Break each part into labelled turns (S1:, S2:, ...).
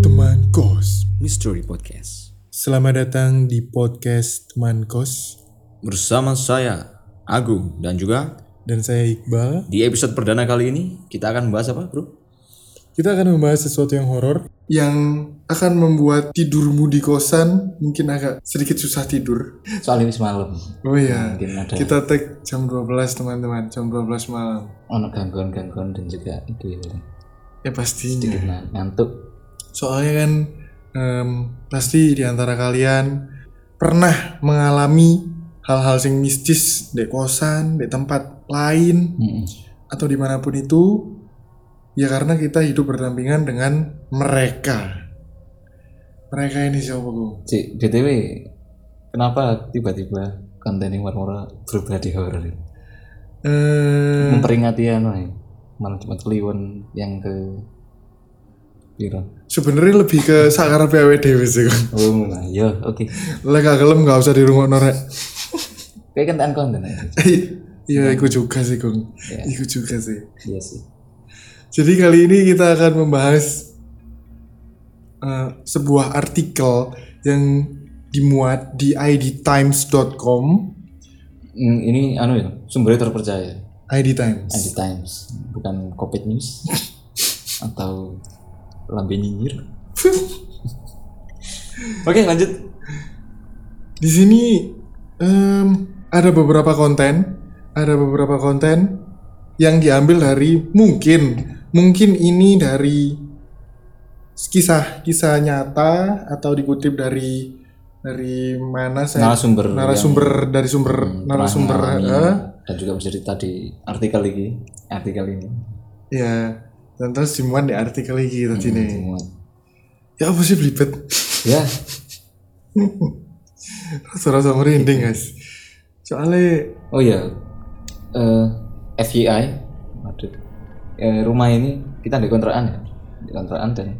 S1: Teman Kos
S2: Mystery Podcast
S1: Selamat datang di podcast Teman Kos
S2: Bersama saya, Agung Dan juga
S1: Dan saya Iqbal
S2: di episode perdana kali ini Kita akan membahas apa bro?
S1: Kita akan membahas sesuatu yang horor Yang akan membuat tidurmu di kosan Mungkin agak sedikit susah tidur
S3: soalnya wis malam
S1: Oh iya
S3: mungkin ada
S1: Kita tag jam 12 teman-teman Jam 12 malam
S3: ono gangguan-gangguan dan juga itu ya paling.
S1: Ya pastinya
S3: sedikit na- ngantuk
S1: Soalnya kan em, Pasti di antara kalian Pernah mengalami Hal-hal yang mistis Di kosan, di tempat lain
S3: Mm-mm.
S1: atau dimanapun itu ya karena kita hidup berdampingan dengan mereka mereka ini siapa gue
S3: Cik, btw kenapa tiba-tiba konten yang warmora berubah di horor ini?
S1: eh
S3: memperingati anu ya malam jumat kliwon yang ke piro
S1: sebenarnya lebih ke sakar PW dewe sih Gung.
S3: oh nah, yo oke
S1: lah gak gelem gak usah di rumah norek
S3: kayak kentaan konten aja
S1: iya ikut juga sih Gung
S3: Iya.
S1: ikut juga sih
S3: iya sih
S1: jadi kali ini kita akan membahas eh, sebuah artikel yang dimuat di idtimes.com
S3: Mm, ini anu ya sumbernya terpercaya
S1: idtimes
S3: Anti Times bukan Kopet News atau Lambe Nyinyir Oke lanjut
S1: Di sini em, ada beberapa konten, ada beberapa konten yang diambil dari mungkin, mungkin ini dari kisah-kisah nyata atau dikutip dari dari mana saya
S3: narasumber yang-
S1: narasumber dari sumber
S3: Hmm,
S1: narasumber
S3: pernah
S1: eh,
S3: mengalami dan juga bercerita di artikel ini artikel ini
S1: ya dan terus dimuat di artikel ini tadi nih
S3: Hmm, Semua.
S1: ya apa sih belibet
S3: ya
S1: rasa-rasa merinding guys soalnya
S3: oh ya eh FYI waduh Eh, rumah ini kita di kontrakan ya di kontrakan dan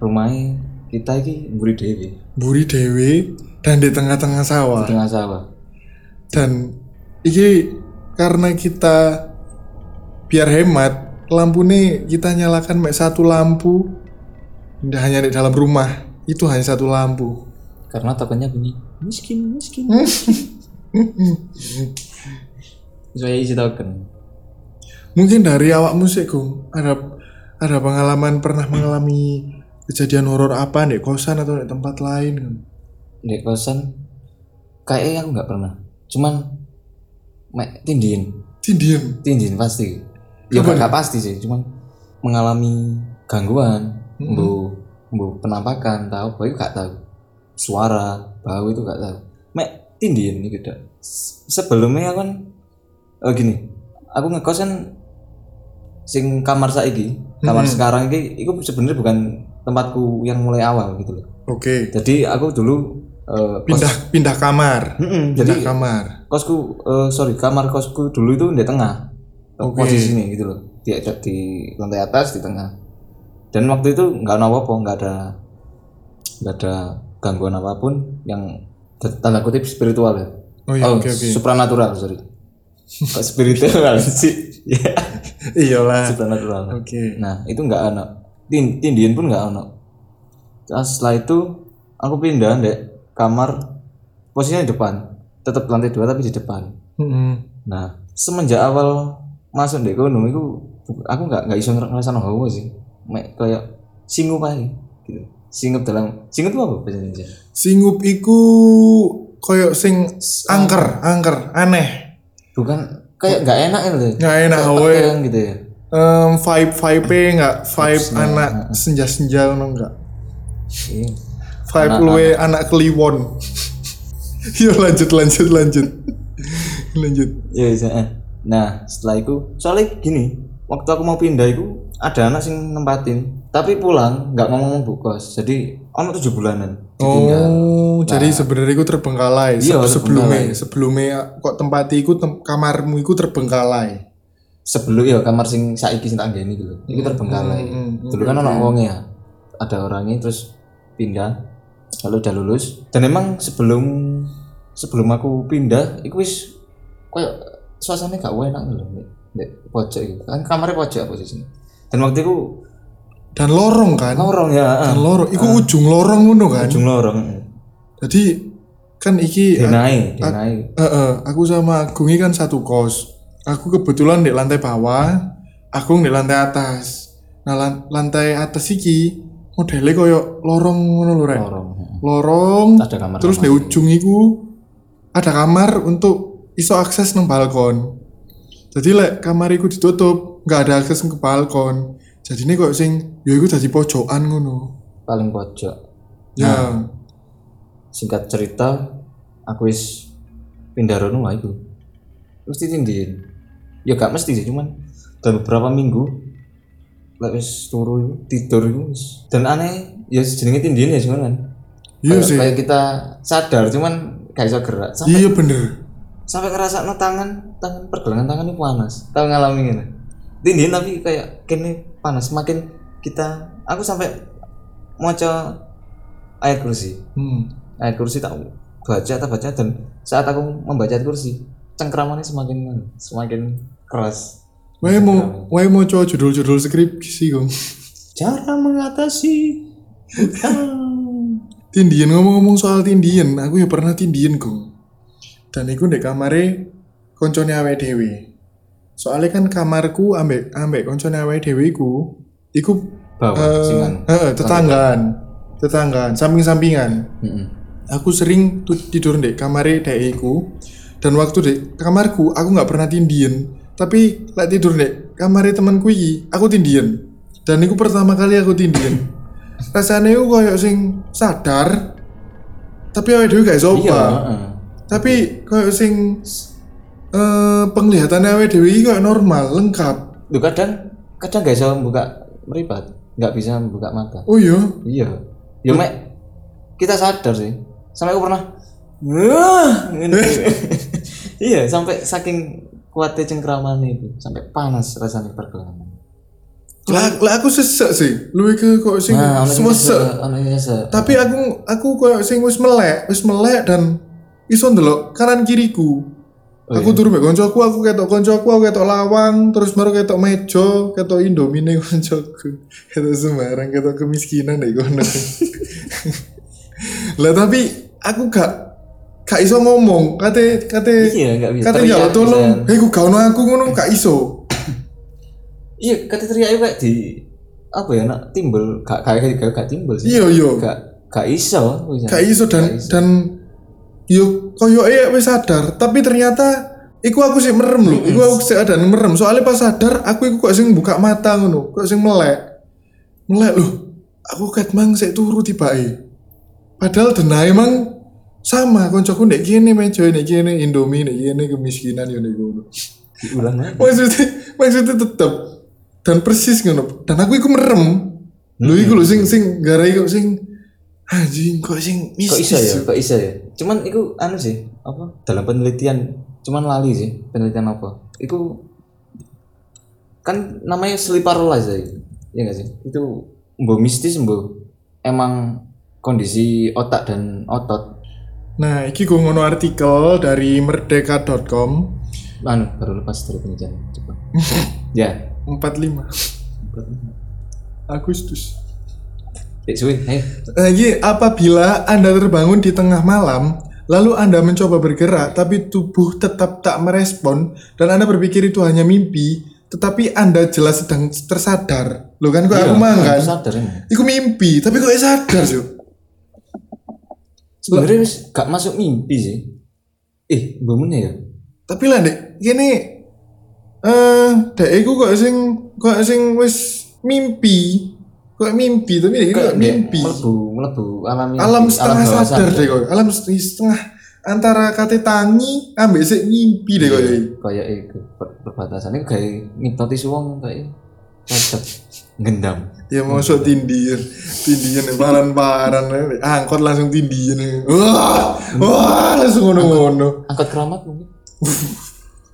S3: rumahnya kita ini buri dewi
S1: buri dewe dan di tengah-tengah sawah
S3: di tengah sawah
S1: dan iki karena kita biar hemat lampu nih kita nyalakan mek satu lampu tidak hanya di dalam rumah itu hanya satu lampu
S3: karena tokennya bunyi miskin miskin sesuai isi token
S1: mungkin dari awakmu sih Gung ada ada pengalaman pernah mengalami kejadian horor apa di kosan atau di tempat lain Gung?
S3: di kosan kayaknya aku nggak pernah cuman mek tindihin
S1: Tindian
S3: tinjin pasti ya
S1: Apa
S3: gak,
S1: nih?
S3: gak pasti sih cuman mengalami gangguan
S1: Mm-mm.
S3: bu bu penampakan tahu apa itu gak tahu suara bau itu gak tahu mek tindian ini gitu Se- sebelumnya aku kan oh gini aku ngekos kan sing kamar saiki kamar
S1: Mm-mm.
S3: sekarang ini itu sebenarnya bukan tempatku yang mulai awal gitu loh
S1: oke
S3: jadi aku dulu eh, kos-
S1: pindah pindah kamar
S3: Mm-mm, jadi
S1: pindah kamar
S3: kosku eh, sorry kamar kosku dulu itu di tengah
S1: Oke.
S3: posisinya gitu loh di, di lantai atas di tengah dan waktu itu nggak ada apa-apa nggak ada nggak ada gangguan apapun yang tanda kutip spiritual ya
S1: oh iya
S3: oh
S1: oke oke
S3: supranatural sorry kok spiritual sih ya
S1: iyalah
S3: supranatural
S1: oke
S3: Nah itu nggak ono. Tin- Tindian pun nggak ono. Terus setelah itu aku pindah dek kamar posisinya di depan. Tetap lantai dua tapi di depan.
S1: Mm-mm.
S3: Nah semenjak awal masuk dek kono itu aku nggak nggak iso ngerasa hawa sih. Mek kayak singup aja gitu. Singup dalam singup itu apa bahasa Indonesia?
S1: singup iku koyok sing angker angker aneh
S3: Bukan kayak nggak enak gitu.
S1: nggak enak
S3: Kayak
S1: we
S3: tegang gitu ya.
S1: Em, vibe vibe nggak vibe
S3: Vibes-nya,
S1: anak senja senja no nggak
S3: Iya.
S1: vibe
S3: Anak-
S1: luwe anak kliwon yuk lanjut lanjut lanjut lanjut
S3: Iya, iya. eh. Nah, setelah itu soalnya gini, waktu aku mau pindah itu ada anak sing nempatin, tapi pulang nggak ngomong bu kos jadi ono tujuh bulanan ditinggal
S1: Oh, jadi sebenarnya iku terbengkalai. Se-
S3: Nah. Iya,
S1: sebelumnya, sebelumnya kok tempat iku tem- kamarmu iku terbengkalai.
S3: sebelum ya kamar sing saiki sing tak nggeni gitu itu terbengkalai
S1: Hmm,
S3: dulu kan orang wong ya ada orangnya terus pindah lalu udah lulus dan emang sebelum sebelum aku pindah itu wis kayak suasananya gak enak gitu loh Nek- Nek pojok gitu kan kamarnya pojok aku di sini dan waktu itu
S1: Dan lorong kan?
S3: lorong ya
S1: Dan
S3: ah,
S1: lorong, iku ujung lorong ngono kan?
S3: ujung lorong
S1: Jadi kan iki
S3: denai denai
S1: Eh, eh, aku sama Agung ini kan satu kos. Aku kebetulan di lantai bawah, Agung di lantai atas. Nah, lan- lantai atas iki modelnya koyo lorong ngono lho, Rek.
S3: lorong
S1: Lorong.
S3: ada kamar
S1: Terus di ujung iku ada kamar untuk iso akses nang balkon. Jadi lek kamar iku ditutup, nggak ada akses ke balkon. Jadi ini kok sing ya iku jadi pojokan ngono.
S3: paling pojok
S1: Ya.
S3: Nah, singkat cerita aku wis pindah rono wae iku mesti tindihin ya gak mesti sih cuman dan beberapa minggu lek wis turu iku, tidur iku wis dan aneh ya jenenge tindihin ya cuman kan
S1: Iya
S3: Kayak-
S1: sih.
S3: kayak kita sadar cuman gak bisa gerak sampai
S1: Iya bener.
S3: sampai kerasa no tangan tangan pergelangan tangan ini panas tau ngalamin ini tindihin tapi kayak kini panas semakin kita aku sampai mau ayat kursi
S1: Hmm.
S3: ayat kursi tak baca tak baca dan saat aku membaca ayat kursi cengkramannya semakin semakin keras
S1: Wae mau wae mau coba judul-judul skripsi Gong.
S3: cara mengatasi hutang
S1: Tindian ngomong-ngomong soal tindian, aku ya pernah tindian Gong. Dan iku ndek kamare koncone awake dhewe. Soalnya kan kamarku ambek ambek koncone awake dhewe iku iku
S3: bawa
S1: eh,
S3: singan
S1: eh, tetanggaan, tetanggaan, samping-sampingan.
S3: Mm-mm.
S1: Aku sering tu- tidur di kamar deku dan waktu di kamarku aku nggak pernah tindian tapi lek tidur di kamar temanku iki aku tindian dan itu pertama kali aku tindian rasanya aku kayak sing sadar tapi awake dhewe gak iso
S3: iya
S1: obah.
S3: heeh.
S1: tapi kayak sing eh penglihatannya awake dhewe iki kayak normal lengkap
S3: Duh, kadang kadang gak bisa membuka meripat nggak bisa membuka mata
S1: oh iya
S3: iya ya mek kita sadar sih sampai aku pernah Wah, ngene. iya sampai saking kuatnya cengkraman itu sampai panas rasanya pergelangan
S1: lah lah aku sesek sih lebih ke kok sing
S3: Nah, ono
S1: sesek
S3: anaknya se.
S1: tapi aku aku koyo sing wis melek wis melek dan iso ndelok kanan kiriku
S3: Oh,
S1: aku turu mek koncoku aku ketok koncoku aku ketok lawang terus baru ketok meja ketok indomine koncoku ketok sembarang ketok kemiskinan deh kono lah tapi aku gak gak iso ngomong kate kate
S3: iya nggak bisa.
S1: kate
S3: Teriak
S1: jalo tolong
S3: bisa.
S1: hei ku gak ono aku ngono gak iso
S3: Iya, kata teriak itu kayak di apa ya nak timbul gak kayak kayak gak, gak timbul sih.
S1: iya iya
S3: Gak gak iso. bisa.
S1: gak iso dan
S3: Ya. Gak iso.
S1: dan yo koyo iya wis sadar tapi ternyata iku aku sih merem lho iku aku sih ada yang merem soalnya pas sadar aku iku kok sing buka mata ngono kok sing melek melek lho aku kat mang sik turu tibake padahal denai mang sama koncoku nek kene meja nek kene indomie nek kene kemiskinan yo nek ngono
S3: diulang lagi.
S1: maksudnya maksudnya tetep dan persis ngono dan aku iku merem lho iku lho sing sing gara iku sing anjing kok sing
S3: Kok
S1: mistis
S3: iso ya? Kok iso ya? Cuman itu anu sih, apa? Dalam penelitian cuman lali sih, penelitian apa? Itu kan namanya sleep paralysis ya. Iya gak sih? Itu mbok mistis mbok emang kondisi otak dan otot
S1: Nah, iki gue ngono artikel dari merdeka.com
S3: anu baru lepas dari penelitian coba ya
S1: 45 Agustus.
S3: Dek Eh, suwe, ayo.
S1: Nah, iki apabila Anda terbangun di tengah malam, lalu Anda mencoba bergerak tapi tubuh tetap tak merespon dan Anda berpikir itu hanya mimpi, tetapi Anda jelas sedang tersadar. Lo kan kok aku
S3: Iya,
S1: mah
S3: aku
S1: kan?
S3: sadar ini.
S1: Iku mimpi, tapi kok sadar sih?
S3: Sebenarnya wis gak masuk mimpi sih. Eh, mbok meneh ya?
S1: Tapi lah dek, gini eh dek iku kok sing kok sing wis mimpi. Kok mimpi tapi dek iku kok
S3: Dek,
S1: mimpi.
S3: Mlebu, mlebu Hmm. alam mimpi,
S1: alam setengah
S3: bawah
S1: sadar deh kok alam setengah antara kate tangi ambek sik mimpi deh
S3: Iya,
S1: kok
S3: eh, Kayak iku per- perbatasan iku gawe ngipnotis wong kayak. Cocok. gendam
S1: Ya masuk tindian, tindian paran-paran, angkot langsung tindian. Wah, wah langsung ngono-ngono.
S3: angkat keramat mungkin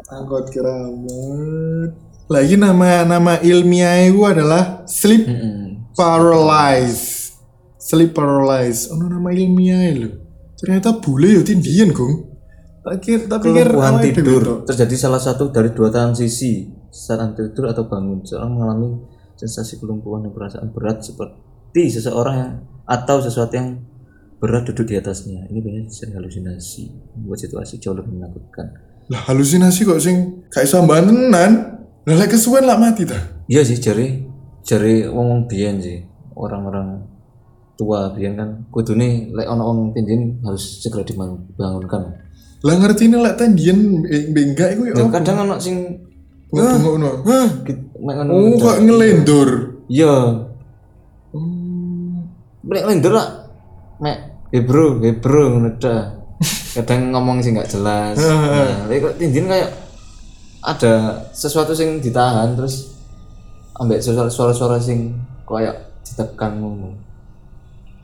S1: Angkot keramat. Lagi nama nama ilmiahnya gue adalah
S3: Hmm.
S1: sleep paralysis. Sleep paralysis. Oh nama ilmiah lo. Ternyata bule ya tindian gong. Tak kira, tak pikir
S3: kelumpuhan
S1: awake dhewe tok.
S3: tidur terjadi salah satu dari dua transisi saat tidur atau bangun seorang mengalami sensasi kelumpuhan dan perasaan berat seperti seseorang yang atau sesuatu yang berat duduk di atasnya ini biasanya sering halusinasi membuat situasi jauh lebih menakutkan
S1: Lah halusinasi kok sing kayak sambahan tenan. Lah lek kesuwen lah mati dah.
S3: iya sih jari jari wong wong biyen sih orang-orang tua biyen kan kudu nih lek ono wong tinjin harus segera dibangunkan
S1: Lah ngerti nih lek tindian enggak iku ya.
S3: Ya,
S1: apa?
S3: kadang ono sing
S1: Ngono-ngono.
S3: hah gitu, mek ngono
S1: Oh, kok ngelendur.
S3: iya Hmm, Mek lendur lah. Mek, "Hey bro, hey bro ngono dah." Kadang ngomong sih nggak jelas. Nah, tapi kok tindin kayak ada sesuatu sing ditahan terus ambek suara- suara-suara sing kayak ditekan ngono.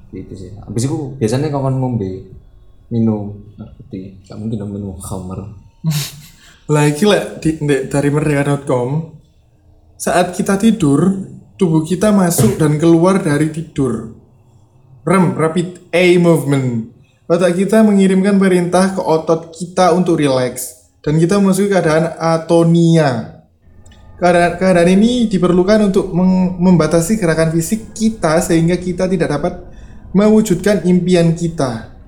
S3: Gitu sih. Habis itu biasanya kawan ngombe minum narkotik, gak mungkin dong minum khamar.
S1: Lah iki lek di, ndek dari merdeka.com saat kita tidur, tubuh kita masuk dan keluar dari tidur. REM rapid eye movement. Otak kita mengirimkan perintah ke otot kita untuk rileks dan kita memasuki keadaan atonia. Keadaan, keadaan ini diperlukan untuk meng- membatasi gerakan fisik kita sehingga kita tidak dapat mewujudkan impian kita.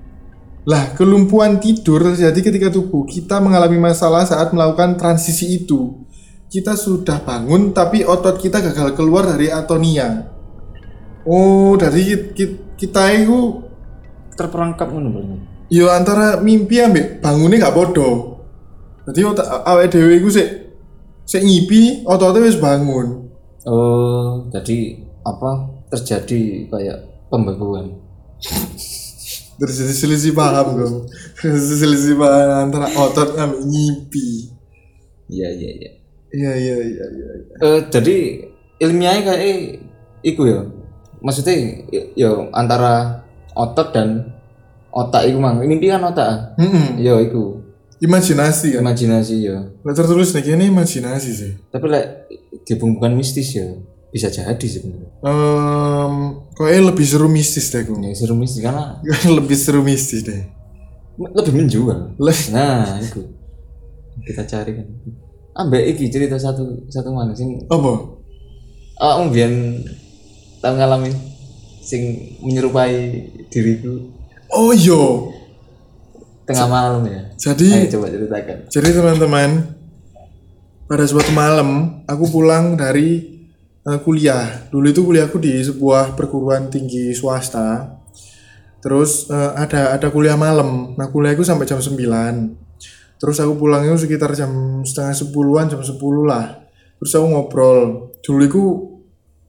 S1: Lah, kelumpuhan tidur terjadi ketika tubuh kita mengalami masalah saat melakukan transisi itu. Kita sudah bangun, tapi otot kita gagal keluar dari atonia. Oh, dari ki- ki- kita itu
S3: Terperangkap ngono berarti.
S1: yo antara mimpi ambek bangunnya gak podo. Jadi otak awake dhewe iku sik sik ngipi, ototnya wis bangun.
S3: Oh, jadi apa terjadi kayak pembekuan.
S1: Terjadi selisih paham, Gong. Terjadi selisih paham antara otot ambek ngipi.
S3: Iya, iya, iya.
S1: Iya, iya, iya, iya.
S3: Eh, jadi ilmiahnya kayak iku ya. Maksudnya y- ya antara otot dan otak iku mang. Mimpi kan otak. ah?
S1: Mm-mm.
S3: Ya iku.
S1: Imajinasi kan.
S3: Imajinasi ya.
S1: Lah tertulis nih ini imajinasi sih.
S3: Tapi lek dihubungkan mistis ya bisa jadi sebenarnya.
S1: Em, kayaknya lebih seru mistis deh gue.
S3: Ya seru mistis karena
S1: lebih seru mistis deh.
S3: me- lebih menjual.
S1: Lah,
S3: Nah, iku. Kita cari kan. Ambek iki cerita satu satu mana sing
S1: apa?
S3: awakmu mbiyen tau ngalamin sing menyerupai diriku
S1: Oh yo.
S3: tengah malam ya. Ayo
S1: Jadi
S3: coba ceritakan.
S1: jadi teman-teman pada suatu malam aku pulang dari eh, kuliah. Dulu itu kuliahku di sebuah perguruan tinggi swasta. Terus eh, ada ada kuliah malam. Nah, kuliahku sampai jam 9. Terus aku pulang itu sekitar jam setengah sepuluhan, jam sepuluh lah. Terus aku ngobrol. Dulu itu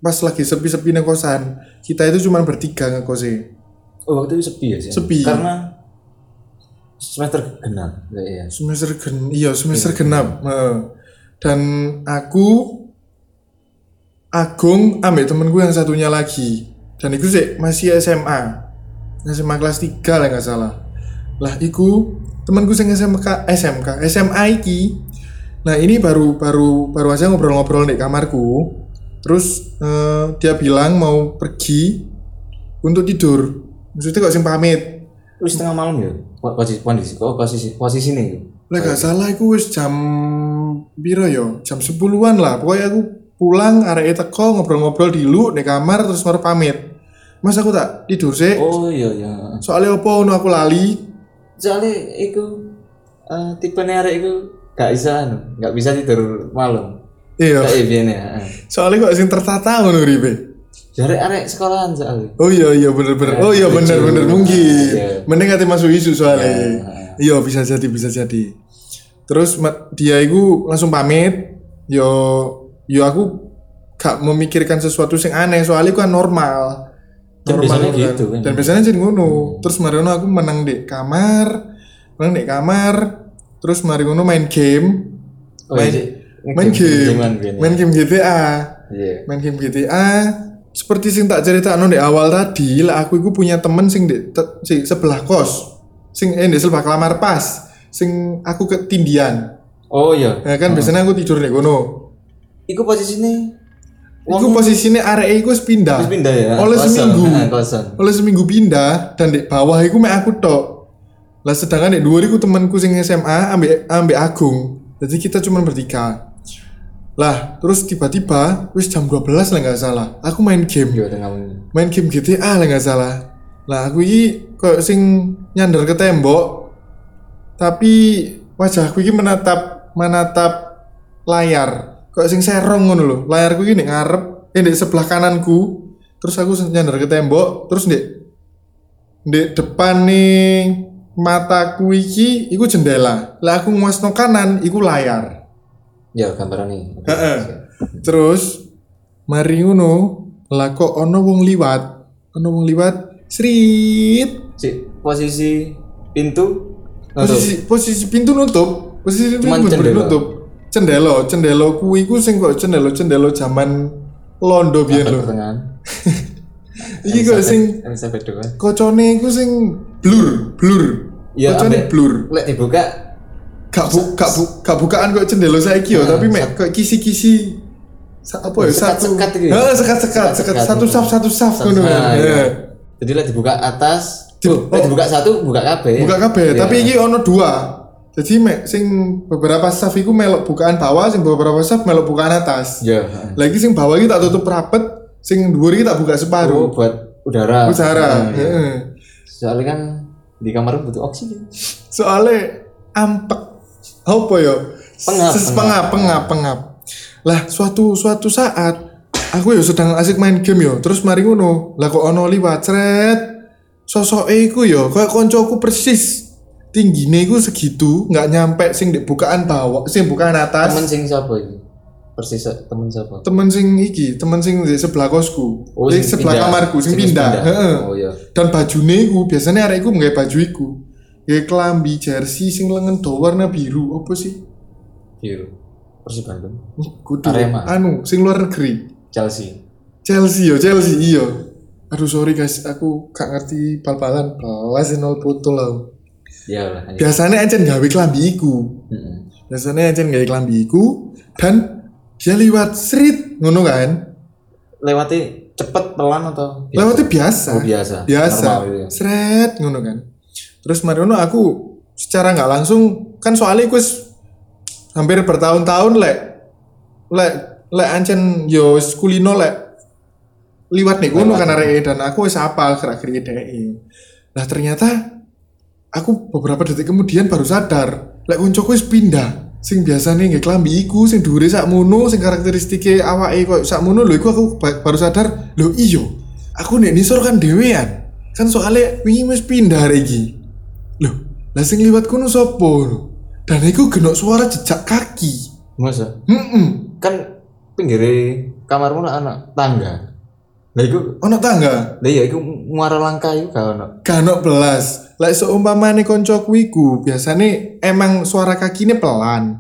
S1: pas lagi sepi-sepi kosan, kita itu cuma bertiga e. ngekosnya.
S3: Oh, waktu itu sepi ya sih.
S1: Sepi.
S3: Karena semester genap. Ya, ya.
S1: Semester gen, iya semester genap. Heeh. Dan aku Agung ambil temenku yang satunya lagi. Dan itu sih masih SMA. SMA kelas 3 lah nggak salah. Lah iku temanku sing SMK SMK SMA iki. Nah, ini baru baru baru aja ngobrol-ngobrol di kamarku. Terus eh, dia bilang mau pergi untuk tidur. Maksudnya kok sing pamit.
S3: Terus tengah malam ya. Po- Posisi posisi oh, posisi posisi nih.
S1: Lah gak salah aku wis jam piro yo? Jam 10-an lah. Pokoknya aku pulang arek teko ngobrol-ngobrol di lu di kamar terus baru pamit. Mas aku tak tidur sih.
S3: Oh iya iya.
S1: Soalnya opo ono aku lali.
S3: Soalnya iku eh tipe arek iku gak bisa anu, gak bisa tidur malam.
S1: Iya.
S3: Kayak biyen ya. heeh.
S1: Soalnya kok sing tertata ngono ribe.
S3: Jare arek sekolahan soalnya.
S1: Oh iya iya bener-bener. Oh iya bener-bener mungkin.
S3: Iya.
S1: Mending ati masuk isu soalnya. Iya bisa jadi bisa jadi. Terus ma- dia itu langsung pamit. Yo yo aku gak memikirkan sesuatu yang aneh soalnya aku kan normal.
S3: Dan biasanya gitu kan.
S1: Dan biasanya Hmm. jadi ngono. Terus marino aku menang di kamar, menang di kamar. Terus mari ngono main game,
S3: Oh, iya,
S1: main,
S3: sih.
S1: main game, kan
S3: Game-gamean biyen ya.
S1: main game GTA.
S3: Iya.
S1: main game GTA seperti sing tak ceritakno di awal tadi lah aku itu punya temen sing di te- si- sebelah kos sing eh di sebelah kamar pas sing aku ketindian
S3: Oh iya.
S1: ya kan biasanya aku tidur di kono
S3: Iku posisine
S1: Iku posisinya area iku wis pindah.
S3: Wis pindah ya,
S1: Oleh
S3: kosong.
S1: seminggu.
S3: Heeh, kosong.
S1: Oleh seminggu pindah dan di bawah iku mek aku tok. Lah sedangkan di dua iku temanku sing SMA ambek ambek Agung. Jadi kita cuma bertiga. Lah, terus tiba-tiba wis jam 12 lah nggak salah. Aku main game.
S3: Iya tengah ini.
S1: main game GTA lah nggak salah lah aku ini kok sing nyandar ke tembok tapi wajahku ini menatap menatap layar kok sing serong ngono lho layarku ini ngarep eh di sebelah kananku terus aku nyandar ke tembok terus di di depan nih mataku iki iku jendela lah aku nguasno kanan iku layar
S3: Ya gambaran ini.
S1: Heeh. Terus mari ngono, lah kok ono wong liwat, ono wong liwat, srit.
S3: Si posisi pintu nutup.
S1: Posisi posisi pintu nutup, posisi pintu
S3: Cuman
S1: bener-bener
S3: jendela.
S1: nutup. Cendelo, cendelo kuwi ku sing kok cendelo cendelo zaman Londo biyen lho.
S3: pertengahan.
S1: Iki kok sing
S3: Elizabeth dua.
S1: kocone iku sing blur, blur.
S3: Iya,
S1: kocone
S3: ambek-
S1: blur.
S3: Lek dibuka
S1: Gak bu, gak bu, gak bukaan kok cendelo saiki yo,
S3: Nah,
S1: tapi mek kok kisi-kisi sa- apa ya satu
S3: Sekat-sekat gitu ya?
S1: Heeh, sekat-sekat, sekat
S3: Sekat-sekat.
S1: satu saf satu saf
S3: satu-
S1: ngono.
S3: Nah, iya.
S1: Heeh.
S3: Jadi lek dibuka atas,
S1: Di-
S3: oh, lek dibuka satu buka kabeh.
S1: buka kabeh
S3: Iya.
S1: tapi iki ono dua jadi mek sing beberapa staff iku melok bukaan bawah sing beberapa staff melok bukaan atas
S3: Iya.
S1: lagi sing bawah iki tak tutup rapet sing dhuwur iki tak buka
S3: Oh,
S1: separuh
S3: buat udara.
S1: Ucara.
S3: Iya.
S1: Heeh.
S3: Soalnya kan di kamar butuh oksigen.
S1: soalnya ampek apa ya
S3: Pengap,
S1: Ses- pengap
S3: pengap.
S1: pengap pengap lah suatu suatu saat aku ya sedang asik main game yo terus mari ngono lah kok ono liwat cret sosok iku yo kayak koncoku persis tingginya iku segitu nggak nyampe sing di bukaan bawah sing bukaan atas
S3: Temen
S1: temen,
S3: sing sapa iki? Persis temen sapa?
S1: sing iki temen sing di sebelah kosku di
S3: Oh, sing
S1: sebelah
S3: pindah.
S1: kamarku sing,
S3: wis
S1: pindah, Heeh.
S3: Oh iya.
S1: dan bajune iku biasanya arek iku nggawe baju iku kayak kelambi jersey sing lengan dawa warna biru apa sih
S3: Biru. Persib Bandung.
S1: kudu
S3: Arema.
S1: anu sing luar negeri
S3: Chelsea.
S1: Chelsea yo Chelsea iyo aduh sorry guys aku gak ngerti bal-balan belas nol putul aku
S3: Iya lah. iya.
S1: biasanya aja gawe kelambi iku
S3: Heeh.
S1: biasanya aja gawe kelambi iku dan dia liwat street ngono kan
S3: Lewati cepet pelan atau? biasa?
S1: lewatnya biasa
S3: Oh, biasa.
S1: biasa
S3: Normal gitu ya.
S1: seret ngono kan terus Mariono aku secara nggak langsung kan soalnya aku wis hampir bertahun-tahun lek lek lek ancen yo wis kulino lek liwat nih ngono kan areke dan aku wis apal gerak gerik dhek nah ternyata aku beberapa detik kemudian baru sadar lek koncoku wis pindah sing biasane nggih klambi iku sing dhuwure sakmono sing karakteristike awake koyo sakmono lho iku aku ba- baru sadar lho iya aku nek nisor kan dhewean kan soalnya wingi wis pindah hari iki lho lah sing liwat kono sapa lho dan iku genok suara jejak kaki
S3: Masa?
S1: heeh
S3: Kan pinggire kamarmu nak anak tangga. Lah iku
S1: ono tangga
S3: lah iya iku muara langkah iku gak ono.
S1: Kanok belas. Lek seumpamane koncoku iku biasane emang suara kakine pelan.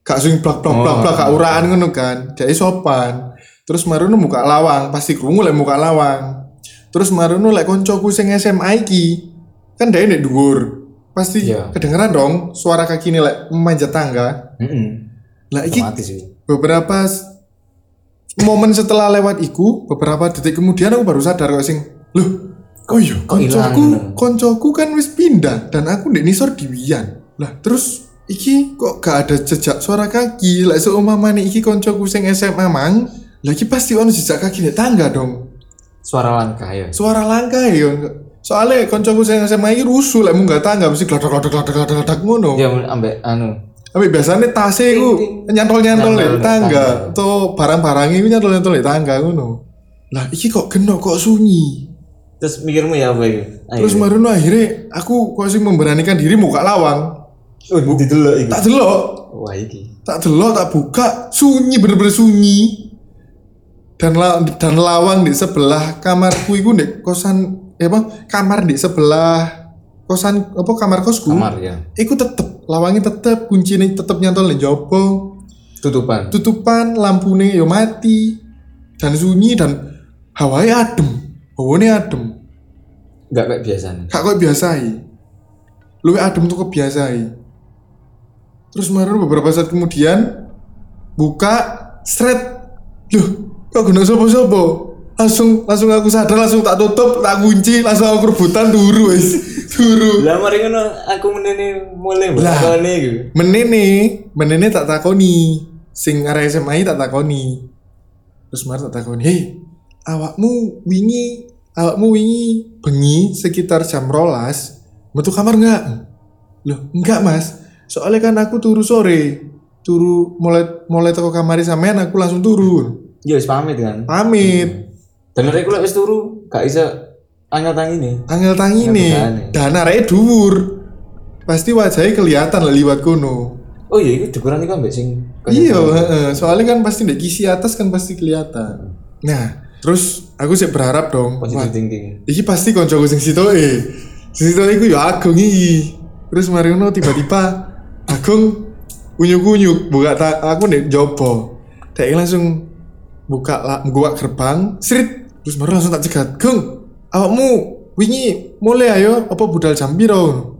S1: Gak sing blak blak
S3: Oh.
S1: blak blak gak uraan ngono kan. Jadi sopan. Terus marono muka lawang, pasti krungu lek muka lawang. Terus marono lek koncoku sing SMA iki kan dhek nek dhuwur. Pasti
S3: Iya.
S1: kedengeran dong suara kakine lek memanjat tangga.
S3: Heeh.
S1: Lah iki
S3: Otomatis sih.
S1: beberapa s- momen setelah lewat iku beberapa detik kemudian aku baru sadar kok sing loh kok iya
S3: Kok ilang?"
S1: koncoku koncoku kan wis pindah dan aku ndek nisor diwian lah terus iki kok gak ada jejak suara kaki lah seumpamane iki koncoku sing SMA mang lagi pasti ono jejak kaki di tangga dong
S3: Suara langkah ya.
S1: suara langkah ya soalnya koncoku sing SMA iki rusuh lek munggah tangga mesti gladak gladak gladak gladak gladak ngono
S3: Ya ambek anu.
S1: tapi biasanya tasnya iku nyantol-nyantol di
S3: Nyantol di
S1: tangga
S3: tangga.
S1: atau barang-barangnya iku nyantol-nyantol di tangga ngono. Lah iki kok genok kok sunyi.
S3: Terus mikirmu ya apa iku? Ayo.
S1: Terus marono akhirnya aku kok sing memberanikan diri muka lawang.
S3: Oh, didelok iku.
S1: Tak delok,
S3: Wah iki.
S1: tak delok, tak buka, sunyi bener-bener sunyi. Dan la- dan lawang di sebelah kamarku iku ndek kosan eh apa kamar di sebelah kosan apa kamar kosku.
S3: Kamar ya.
S1: Iku tetep lawangnya tetep kuncinya tetep nyantol di jopo.
S3: Tutupan.
S1: tutupan lampune yo ya mati dan sunyi dan hawanya adem hawane adem
S3: nggak kayak biasanya
S1: kak kok biasai lu adem tuh kebiasai terus kemarin beberapa saat kemudian buka seret loh kok guna sopo-sopo langsung langsung aku sadar langsung tak tutup tak kunci langsung aku rebutan turu wis turu
S3: lah mari ngono aku menene mulai
S1: Lah.
S3: bakone iku
S1: menene menene tak takoni sing arah SMA tak takoni terus kemarin tak takoni hei awakmu wingi awakmu wingi bengi sekitar jam rolas metu kamar nggak loh enggak mas soalnya kan aku turu sore turu mulai mulai toko kamari sampean aku langsung turun
S3: ya wis pamit kan
S1: Ah. pamit
S3: dan mereka lek wis turu gak iso angel tangi nih
S1: angel tangi
S3: Angel
S1: nih
S3: tangi.
S1: dan arahnya dhuwur pasti wajahnya kelihatan lah liwat kono
S3: oh iya itu dukuran iku ambek sing
S1: Iya, heeh. soalnya kan pasti di kisi atas kan pasti kelihatan. Nah, terus aku sih berharap dong. Wah,
S3: positif thinking
S1: iki pasti koncoku sing sito e. Sing sito iku ya Agung iki. Terus Mariono tiba-tiba Agung unyuk-unyuk buka ta- aku nih jopo. Dek langsung buka la- buka gerbang, srit. Terus baru langsung tak cegat. Gung, awakmu wingi mulai ayo apa budal jam piro?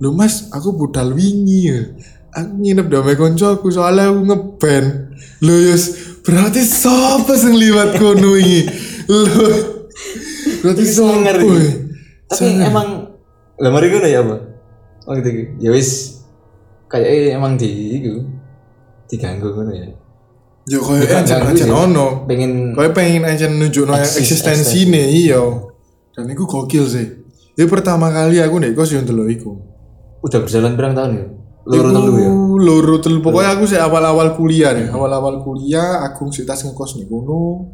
S1: Lu mas, aku budal wingi ya. Aku nginep di ame koncoku soalnya aku ngeband. Lu yus, berarti sopo sing liwat kono ini? Lu, berarti
S3: Ini
S1: sopo
S3: sangar ini.
S1: ya?
S3: tapi emang lah mari ngono ya apa oh gitu gitu. ya wis kayaknya emang di iku diganggu ngono ya
S1: Ya kaya
S3: Bukan
S1: ancen
S3: ganggu
S1: ancen
S3: sih.
S1: ono.
S3: pengen
S1: Kaya pengen ancen nunjukno
S3: Eksis-
S1: eksistensi nih iya. Dan iku gokil sih. Ya pertama kali aku nek kos yo ndelok iku.
S3: udah berjalan berapa tahun ya loro telu ya Hmm.
S1: Iku Loro telu pokoknya aku sih awal-awal kuliah nih. Awal-awal kuliah aku sih tas ngekos nih kono.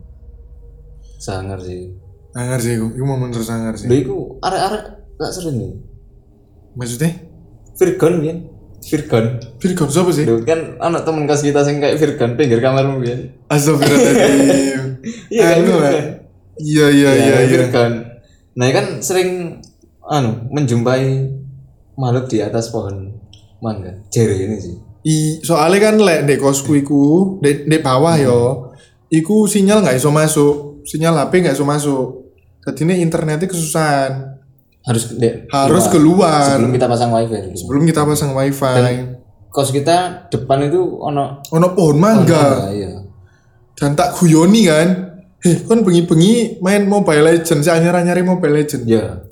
S3: sangar sih
S1: Sangar sih iku. Iku momen tersangar
S3: Lha
S1: sih.
S3: iku arek-arek tak sering nih.
S1: Maksudnya
S3: Virgon kan. Virgon.
S1: Virgon siapa sih?
S3: Lho kan anak temen kelas kita sing kayak Virgon pinggir kamarmu kan.
S1: Astagfirullahaladzim.
S3: Iya kan
S1: Anu,
S3: Virgon.
S1: eh. Iya iya iya iya.
S3: Virgon. Nah, kan sering anu menjumpai makhluk di atas pohon mangga. Jere ini sih.
S1: I, soalnya kan lek dek kosku iku dek, dek bawah yo
S3: Hmm.
S1: iku sinyal nggak iso masuk sinyal HP nggak iso masuk jadi ini internetnya kesusahan
S3: Harus de-
S1: harus keluar
S3: keluar. sebelum kita pasang wifi.
S1: sebelum kita pasang wifi
S3: Kos kita depan itu ono
S1: ono pohon mangga
S3: Iya.
S1: dan tak guyoni kan heh kan bengi-bengi main Mobile Legends saya nyari nyari Mobile Legends
S3: Iya.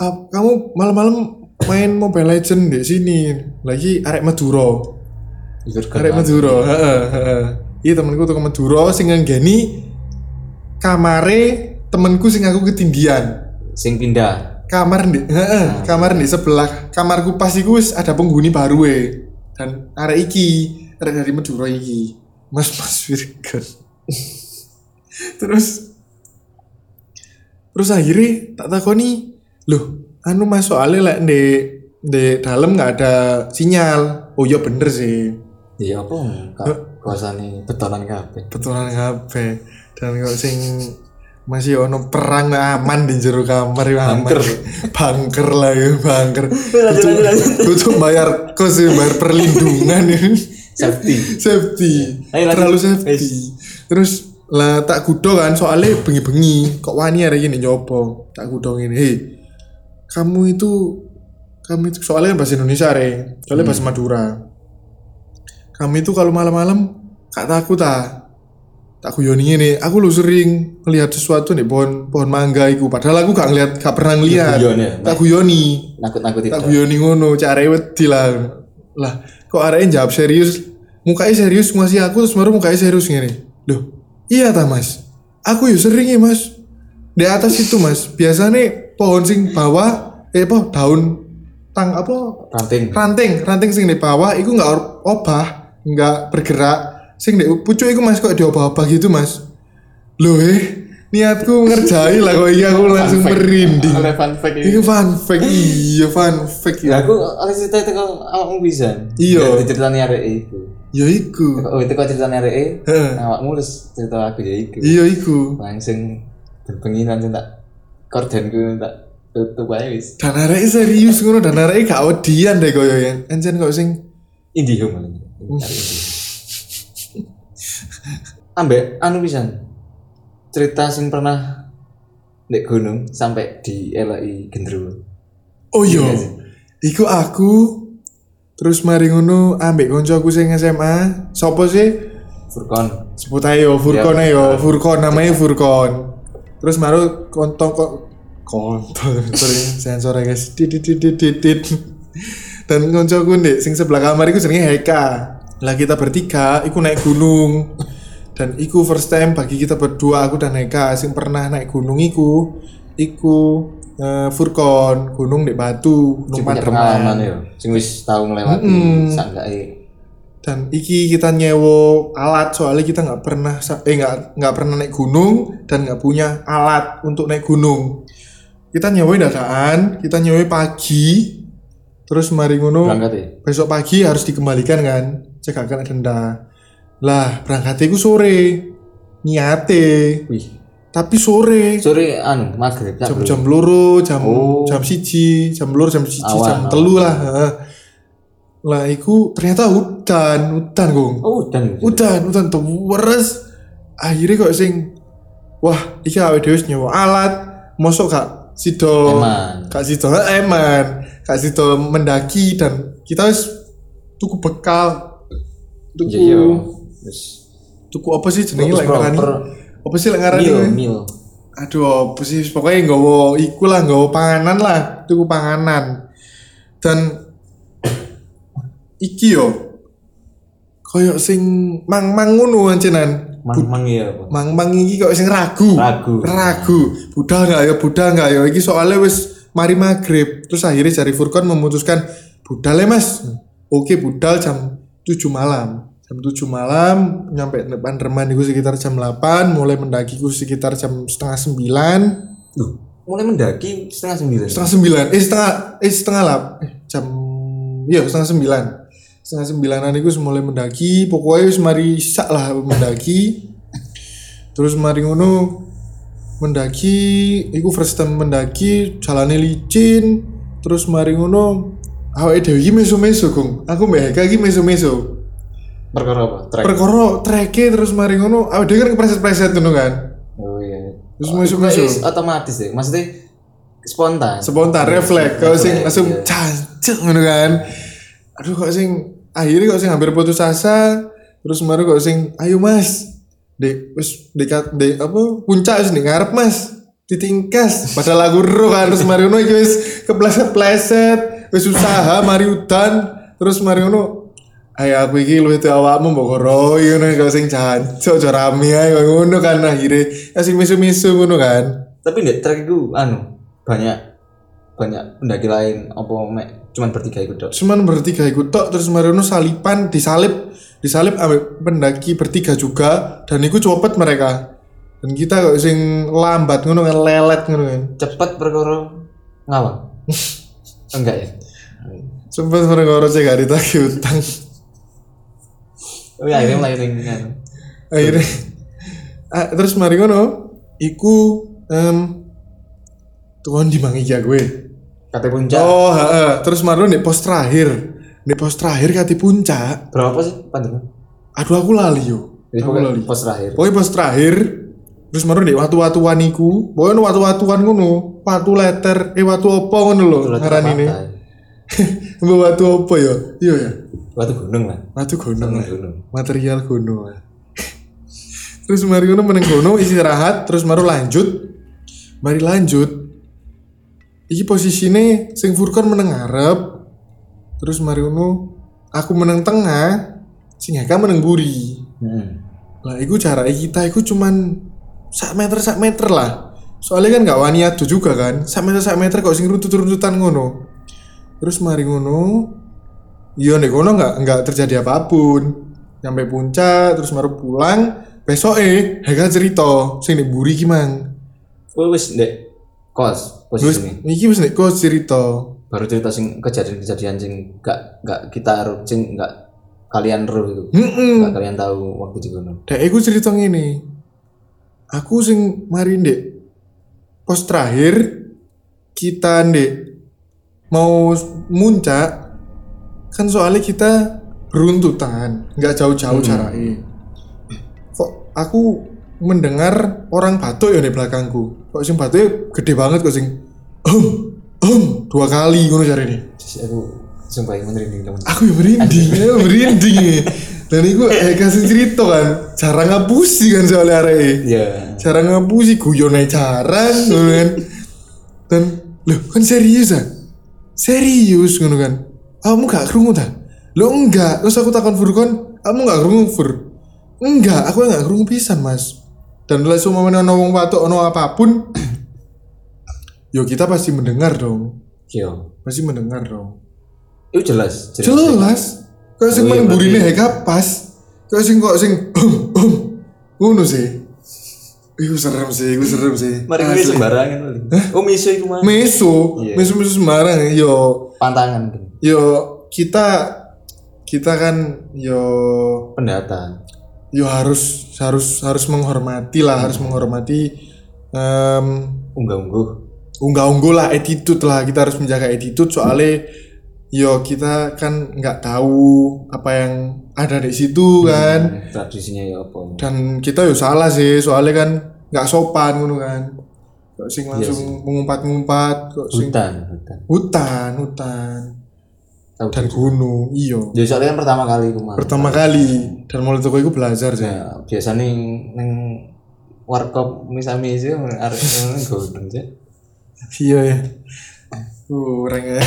S1: Ah, kamu malam-malam main Mobile Legends di sini lagi arek Maduro
S3: Virgon.
S1: Arek Madura, heeh, heeh. Iya temenku tuh ke Madura sing nggeni kamare temenku sing aku ketindian.
S3: Sing pindah.
S1: Kamar di, heeh, kamar di sebelah kamarku pas iku wis ada penghuni baru e. Dan arek iki, arek dari Madura iki. Mas Mas Virgen. terus terus akhirnya tak takoni, loh, anu mas soalnya lek di di dalam nggak ada sinyal. Oh iya bener sih.
S3: Iya apa? Kosane betonan kabeh.
S1: betulan HP dan kok sing masih ono perang nah aman di jero kamar ya aman
S3: Bunker.
S1: bangker lah ya bangker
S3: lanjut, lanjut, lanjut.
S1: butuh bayar kos ya bayar perlindungan ya
S3: Safety.
S1: safety
S3: Iya. Ayo, lanjut.
S1: terlalu safety
S3: Wes.
S1: terus lah tak kudo kan soalnya bengi-bengi kok wani hari ini nyopo tak kudo ini hei kamu itu kamu itu soalnya kan bahasa Indonesia re soalnya bahasa
S3: Hmm.
S1: Madura kami itu kalau malam-malam kak takut tak tak kuyoni ini aku lu sering melihat sesuatu nih pohon pohon mangga itu padahal aku gak ngeliat gak pernah ngeliat
S3: Guyon ya.
S1: tak kuyoni
S3: nakut-nakut itu.
S1: tak guyoni ngono cari wedi lah lah kok arahnya jawab serius mukanya serius ngasih aku terus baru mukanya serius gini loh iya ta mas aku ya sering ya mas di atas itu mas biasanya pohon sing bawah eh apa daun tang apa
S3: ranting
S1: ranting ranting sing di bawah iku nggak or- obah nggak bergerak sing di pucuk iku mas kok diobah-obah gitu mas loh eh niatku ngerjain lah kok iya aku langsung merinding
S3: oleh fun fact
S1: Iku fun fact, iya fun fact
S3: ya
S1: ya.
S3: aku oleh cerita itu kok awakmu bisa
S1: Iya.
S3: Dari ceritanya arek itu
S1: Ya iku.
S3: oh itu kok ceritanya arek
S1: Heeh.
S3: awakmu terus cerita aku ya itu
S1: Iya iku.
S3: langsung berpengi langsung tak korden gue tak tutup aja wis
S1: Dan arek serius ngono dan arek gak odian deh koyo ya. Encen kok sing
S3: indihome ambek anu pisan cerita sing pernah nek gunung sampai di LI Gendruwo
S1: Oh iya.
S3: Iya sih.
S1: Iku aku terus mari ngono ambek koncoku sing SMA. Sopo sih?
S3: Furkon
S1: Sebut ae yo Furkon ae
S3: Iya,
S1: yo. Furkon namanya Furkon. Terus maru kontong kok kontol sorry sensor ya guys. Dit dit dit dit dit. dit. Dan koncoku ndek sing sebelah kamar iku jenenge Heka. Lah kita bertiga iku naik gunung. Dan iku first time bagi kita berdua aku dan Heka sing pernah naik gunung iku iku eh, Furkon gunung di Batu,
S3: sing
S1: gunung
S3: punya
S1: Pademangan.
S3: pengalaman yo sing wis tau ngelewati
S1: Mm-mm.
S3: sangkai
S1: dan iki kita nyewo alat soalnya kita nggak pernah sa- eh nggak nggak pernah naik gunung dan nggak punya alat untuk naik gunung kita nyewo dadaan kita nyewo pagi terus mari ngono
S3: berangkat ya
S1: besok pagi harus dikembalikan kan cek gak kena denda lah berangkatnya iku sore niate
S3: wih
S1: tapi sore
S3: sore anu maghrib tak,
S1: jam
S3: Bro?
S1: jam loro jam
S3: Oh.
S1: jam siji jam loro jam siji
S3: Awan,
S1: jam
S3: awan.
S1: telu lah heeh. lah iku ternyata hutan hutan gong
S3: oh dan
S1: udan udan terus akhirnya kok sing wah iki awake dhewe wis nyewa alat mosok gak sido
S3: Eman.
S1: gak sido eman gak sido mendaki dan kita wis tuku bekal tuku
S3: iya iya wis
S1: tuku apa sih jenenge
S3: Terus
S1: lek ngarani
S3: proper. Iya,
S1: apa sih lek ngarani
S3: mil mil
S1: aduh apa sih pokoknya nggawa iku lah nggawa panganan lah tuku panganan dan iki yo koyok sing mang-mang ngono ancenan
S3: mang mang ya apa
S1: Mang mang iki kok sing ragu.
S3: Ragu.
S1: Ragu. Budal nggak ya, budal nggak ya. Iki soalnya wis mari maghrib. Terus akhirnya jari Furkon memutuskan budal ya mas. Oke budal jam 7 malam. Jam 7 malam nyampe depan reman itu sekitar jam 8 mulai mendaki ku sekitar jam setengah 9
S3: Duh, mulai mendaki setengah sembilan
S1: setengah 9 eh setengah eh setengah lah eh, jam iya setengah 9 setengah 9an itu mulai mendaki pokoknya wis mari sak lah mendaki terus mari ngono mendaki iku first time mendaki jalannya licin terus mari ngono awake dhewe iki meso-meso Gung aku mbek Eka iki meso-meso
S3: perkara apa trek
S1: perkara treke terus mari ngono awake dhewe kan kepreset-preset ngono kan
S3: oh iya
S1: terus
S3: Oh,
S1: meso-meso
S3: itu is- otomatis ya maksudnya spontan
S1: spontan refleks kalau sing
S3: Refleks,
S1: langsung
S3: iya.
S1: cancuk gitu kan aduh kok sing akhirnya kok sing hampir putus asa terus baru kok sing ayo mas dek wis dekat dek apa puncak wis ning ngarep mas ditingkas padahal lagu ro kan terus Mariono iki wis kepleset pleset wis usaha mari udan terus Mariono ayo aku iki luwih tuwa awakmu mbok koro ngono kok sing jancuk cara rame ae kok ngono kan akhirnya ya sing misu-misu ngono kan
S3: tapi di trek itu anu banyak banyak pendaki lain apa mek cuman bertiga itu dok
S1: cuman bertiga ikut tok terus Mariono salipan disalip disalip ambek pendaki bertiga juga dan iku copet mereka dan kita kok sing lambat ngono kan lelet ngono kan
S3: cepet perkara ngawang enggak ya
S1: sempat mereka cek gak ditagih utang
S3: tapi Oh, akhirnya melayarin anu.
S1: akhirnya
S3: Hmm.
S1: Ah, terus mari ngono iku em tuan di mangi ya gue
S3: kate puncak
S1: oh ha, ha. terus Mariono di pos terakhir di pos terakhir kati puncak
S3: berapa sih panjang
S1: aduh aku lali yo
S3: jadi
S1: aku lali
S3: pokoknya pos terakhir
S1: Pokoknya pas terakhir terus baru di watu-watuan iku, pokoknya ono watu-watuan ngono, watu letter, eh watu apa ngono lho
S3: Terus
S1: ngaran ini.
S3: pantai.
S1: Mbak watu apa ya? Iya ya.
S3: batu gunung lah
S1: Watu gunung.
S3: gunung
S1: lah.
S3: gunung
S1: Material gunung. lah. terus mari ngono meneng kono istirahat, terus baru lanjut. Mari lanjut. Iki posisine sing Furkon meneng ngarep. Terus mari ngono aku meneng tengah, sing Eka meneng buri.
S3: Heeh.
S1: Lah iku jarak kita iku cuman sak meter sak meter lah. Soalnya kan gak wani adu juga kan. Sak meter sak meter kok sing runtut-runtutan ngono. Terus mari ngono. Iya nek ngono nggak nggak terjadi apapun. Nyampe puncak terus baru pulang. Besok eh Heka cerita sing nek buri ki mang.
S3: Wih, wis ndek kos
S1: Terus
S3: posisi ini
S1: iki wis nek kok cerita.
S3: baru cerita sing kejadian-kejadian sing gak gak kita ro- sing gak kalian ro itu
S1: Heeh.
S3: gak kalian tahu waktu di gunung
S1: Dek iku cerita ngene. Aku sing mari Ndek. Pos terakhir kita Ndek mau s- muncak kan soalnya kita beruntutan, nggak jauh-jauh jaraknya. Kok aku mendengar orang batuk ya di belakangku. Kok sing batuknya gede banget kok sing. Ehm, ehm, dua kali ngono cari ini.
S3: Jadi aku sumpah yang merinding teman
S1: Aku ya merinding, ya merinding. ya. Dan aku eh, kasih cerita kan, cara ngapusi kan soalnya arek.
S3: Iya.
S1: cara ngapusi guyonnya jarang ngono kan dan loh kan serius ah serius ngono kan kamu gak kerungu ta lo enggak terus aku takon Fur kon kamu gak kerungu Fur enggak aku gak kerungu pisan mas dan langsung mau ono wong patok ono apapun yo kita pasti mendengar dong
S3: Yo.
S1: pasti mendengar dong
S3: Iya. Itu jelas.
S1: jelas kau sing
S3: Iya, Oh, iya,
S1: main burine
S3: berarti-
S1: heka pas kau sing kok sing um um ngono sih Iku serem sih, iku serem sih.
S3: Mari
S1: Asli.
S3: kuwi sembarangan kali. Oh, miso iku mah.
S1: meso
S3: Iya.
S1: meso meso sembarang yo
S3: Pantangan gitu.
S1: yo kita kita kan yo
S3: pendataan.
S1: yo harus harus harus menghormati lah harus menghormati em
S3: Unggah-ungguh.
S1: unggah ungguh lah attitude lah kita harus menjaga attitude soalnya yo kita kan nggak tahu apa yang ada di situ kan
S3: Tradisinya ya apa?
S1: dan kita yo salah sih soalnya kan nggak sopan ngono kan kok sing langsung
S3: Iya sih.
S1: mengumpat-ngumpat kok sing
S3: Hutan, hutan.
S1: hutan hutan
S3: Tahu
S1: dan gunung iyo
S3: Ya soalnya kan pertama kali aku mah.
S1: pertama kali dan mulai toko itu belajar sih
S3: Ya, biasanya neng warkop misalnya itu arek ngono godhong sih.
S1: iya ya kurang ya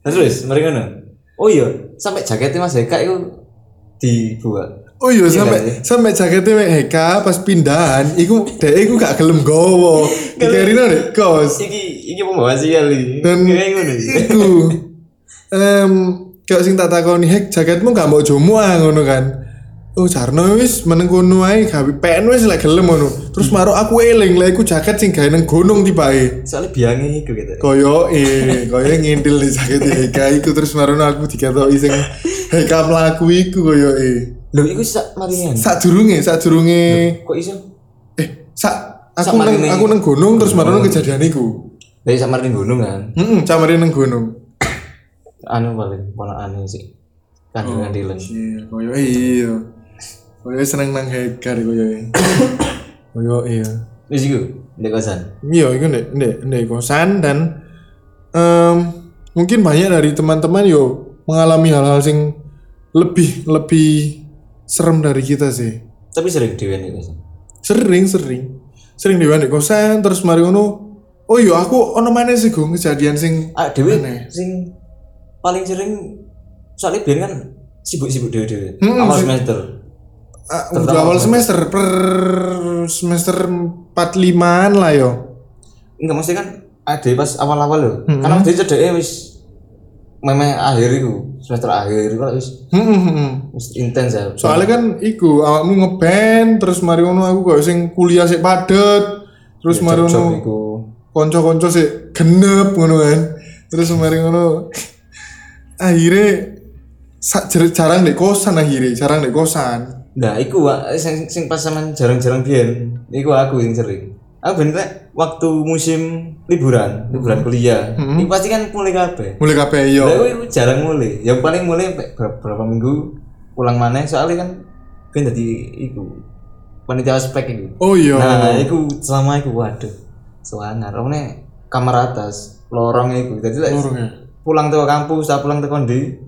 S3: Nah, Terus mari ngono. Oh iya, sampai jaketnya Mas Eka itu dibuat.
S1: oh iya
S3: Iya,
S1: sampai sampai jaketnya Mek Heka pas pindahan iku dek iku gak gelem gowo dikarino dek kos
S3: Iki iki pembawa sial iki.
S1: Dan-
S3: Kayak ngono. iki.
S1: iku em kalau sing tak takoni hek jaketmu gak mau jomu ah ngono kan Oh Jarno wis meneng kono ae gawe pen wis lek gelem ngono. Terus maro aku eling lek iku jaket sing gawe nang gunung tibae.
S3: Soalnya biangnya iku gitu.
S1: koyo eh koyo ngintil di sakit Heka iku terus marono aku diketoki sing Heka mlaku iku koyo eh
S3: Lho iku sak maringan.
S1: sak durunge sak durunge
S3: Kok iso?
S1: eh sak aku
S3: Sama
S1: neng
S3: ini.
S1: aku neng gunung terus marono kejadian iku Hmm,
S3: Dari sak maring gunung kan.
S1: heeh camare neng gunung
S3: Anu paling ponakane sih. Kandungan dilen.
S1: Iya, koyo eh, iya koyo seneng nang Heka deh koyo eh. koyo iya
S3: Wis iku ndek kosan.
S1: iya iku ndek ndek ndek kosan dan em, mungkin banyak dari teman-teman yo mengalami hal-hal sing lebih lebih serem dari kita sih
S3: Tapi sering dhewean ndek kosan.
S1: sering sering sering di di kosan terus mari ngono oh iya aku ono mana sih gue kejadian sing
S3: Ah dhewe
S1: Aneh.
S3: sing paling sering soalnya biyen kan sibuk-sibuk dhewe-dhewe.
S1: Hmm,
S3: Awal
S1: sih.
S3: semester.
S1: ah, udah awal semester per semester 45 an lah yo
S3: Enggak mesti kan ada pas awal-awal loh. Karena waktu itu cedeke wis memang akhir iku, semester akhir iku lah wis
S1: Hmm, hmm, hmm.
S3: wis intens ya.
S1: soalnya kan iku awakmu ngeband terus mari ngono aku kok sing kuliah sih padet terus mari
S3: ya, job-job
S1: ngono
S3: Iya, iku.
S1: konco-konco sih genep ngono kan terus mari ngono akhirnya sa- jar- jarang di kosan akhirnya jarang di kosan
S3: Nah, iku Wak, sing sing pas sampean jarang-jarang biyen, iku aku yang sering. Aku bener Rek, waktu musim liburan, liburan kuliah. Iku pasti kan mulai kabeh.
S1: mulai kabeh iya. yo
S3: Lah iku jarang mulai. Ya paling mulai pe- ber- berapa minggu pulang maneh soalnya kan ben dadi iku panitia ospek iku.
S1: Oh iya.
S3: Nah, iku selama iku waduh. Sewangar. Omne kamar atas, lorong iku. Jadi lek
S1: Lorongnya.
S3: pulang teko kampus, tak pulang teko ndi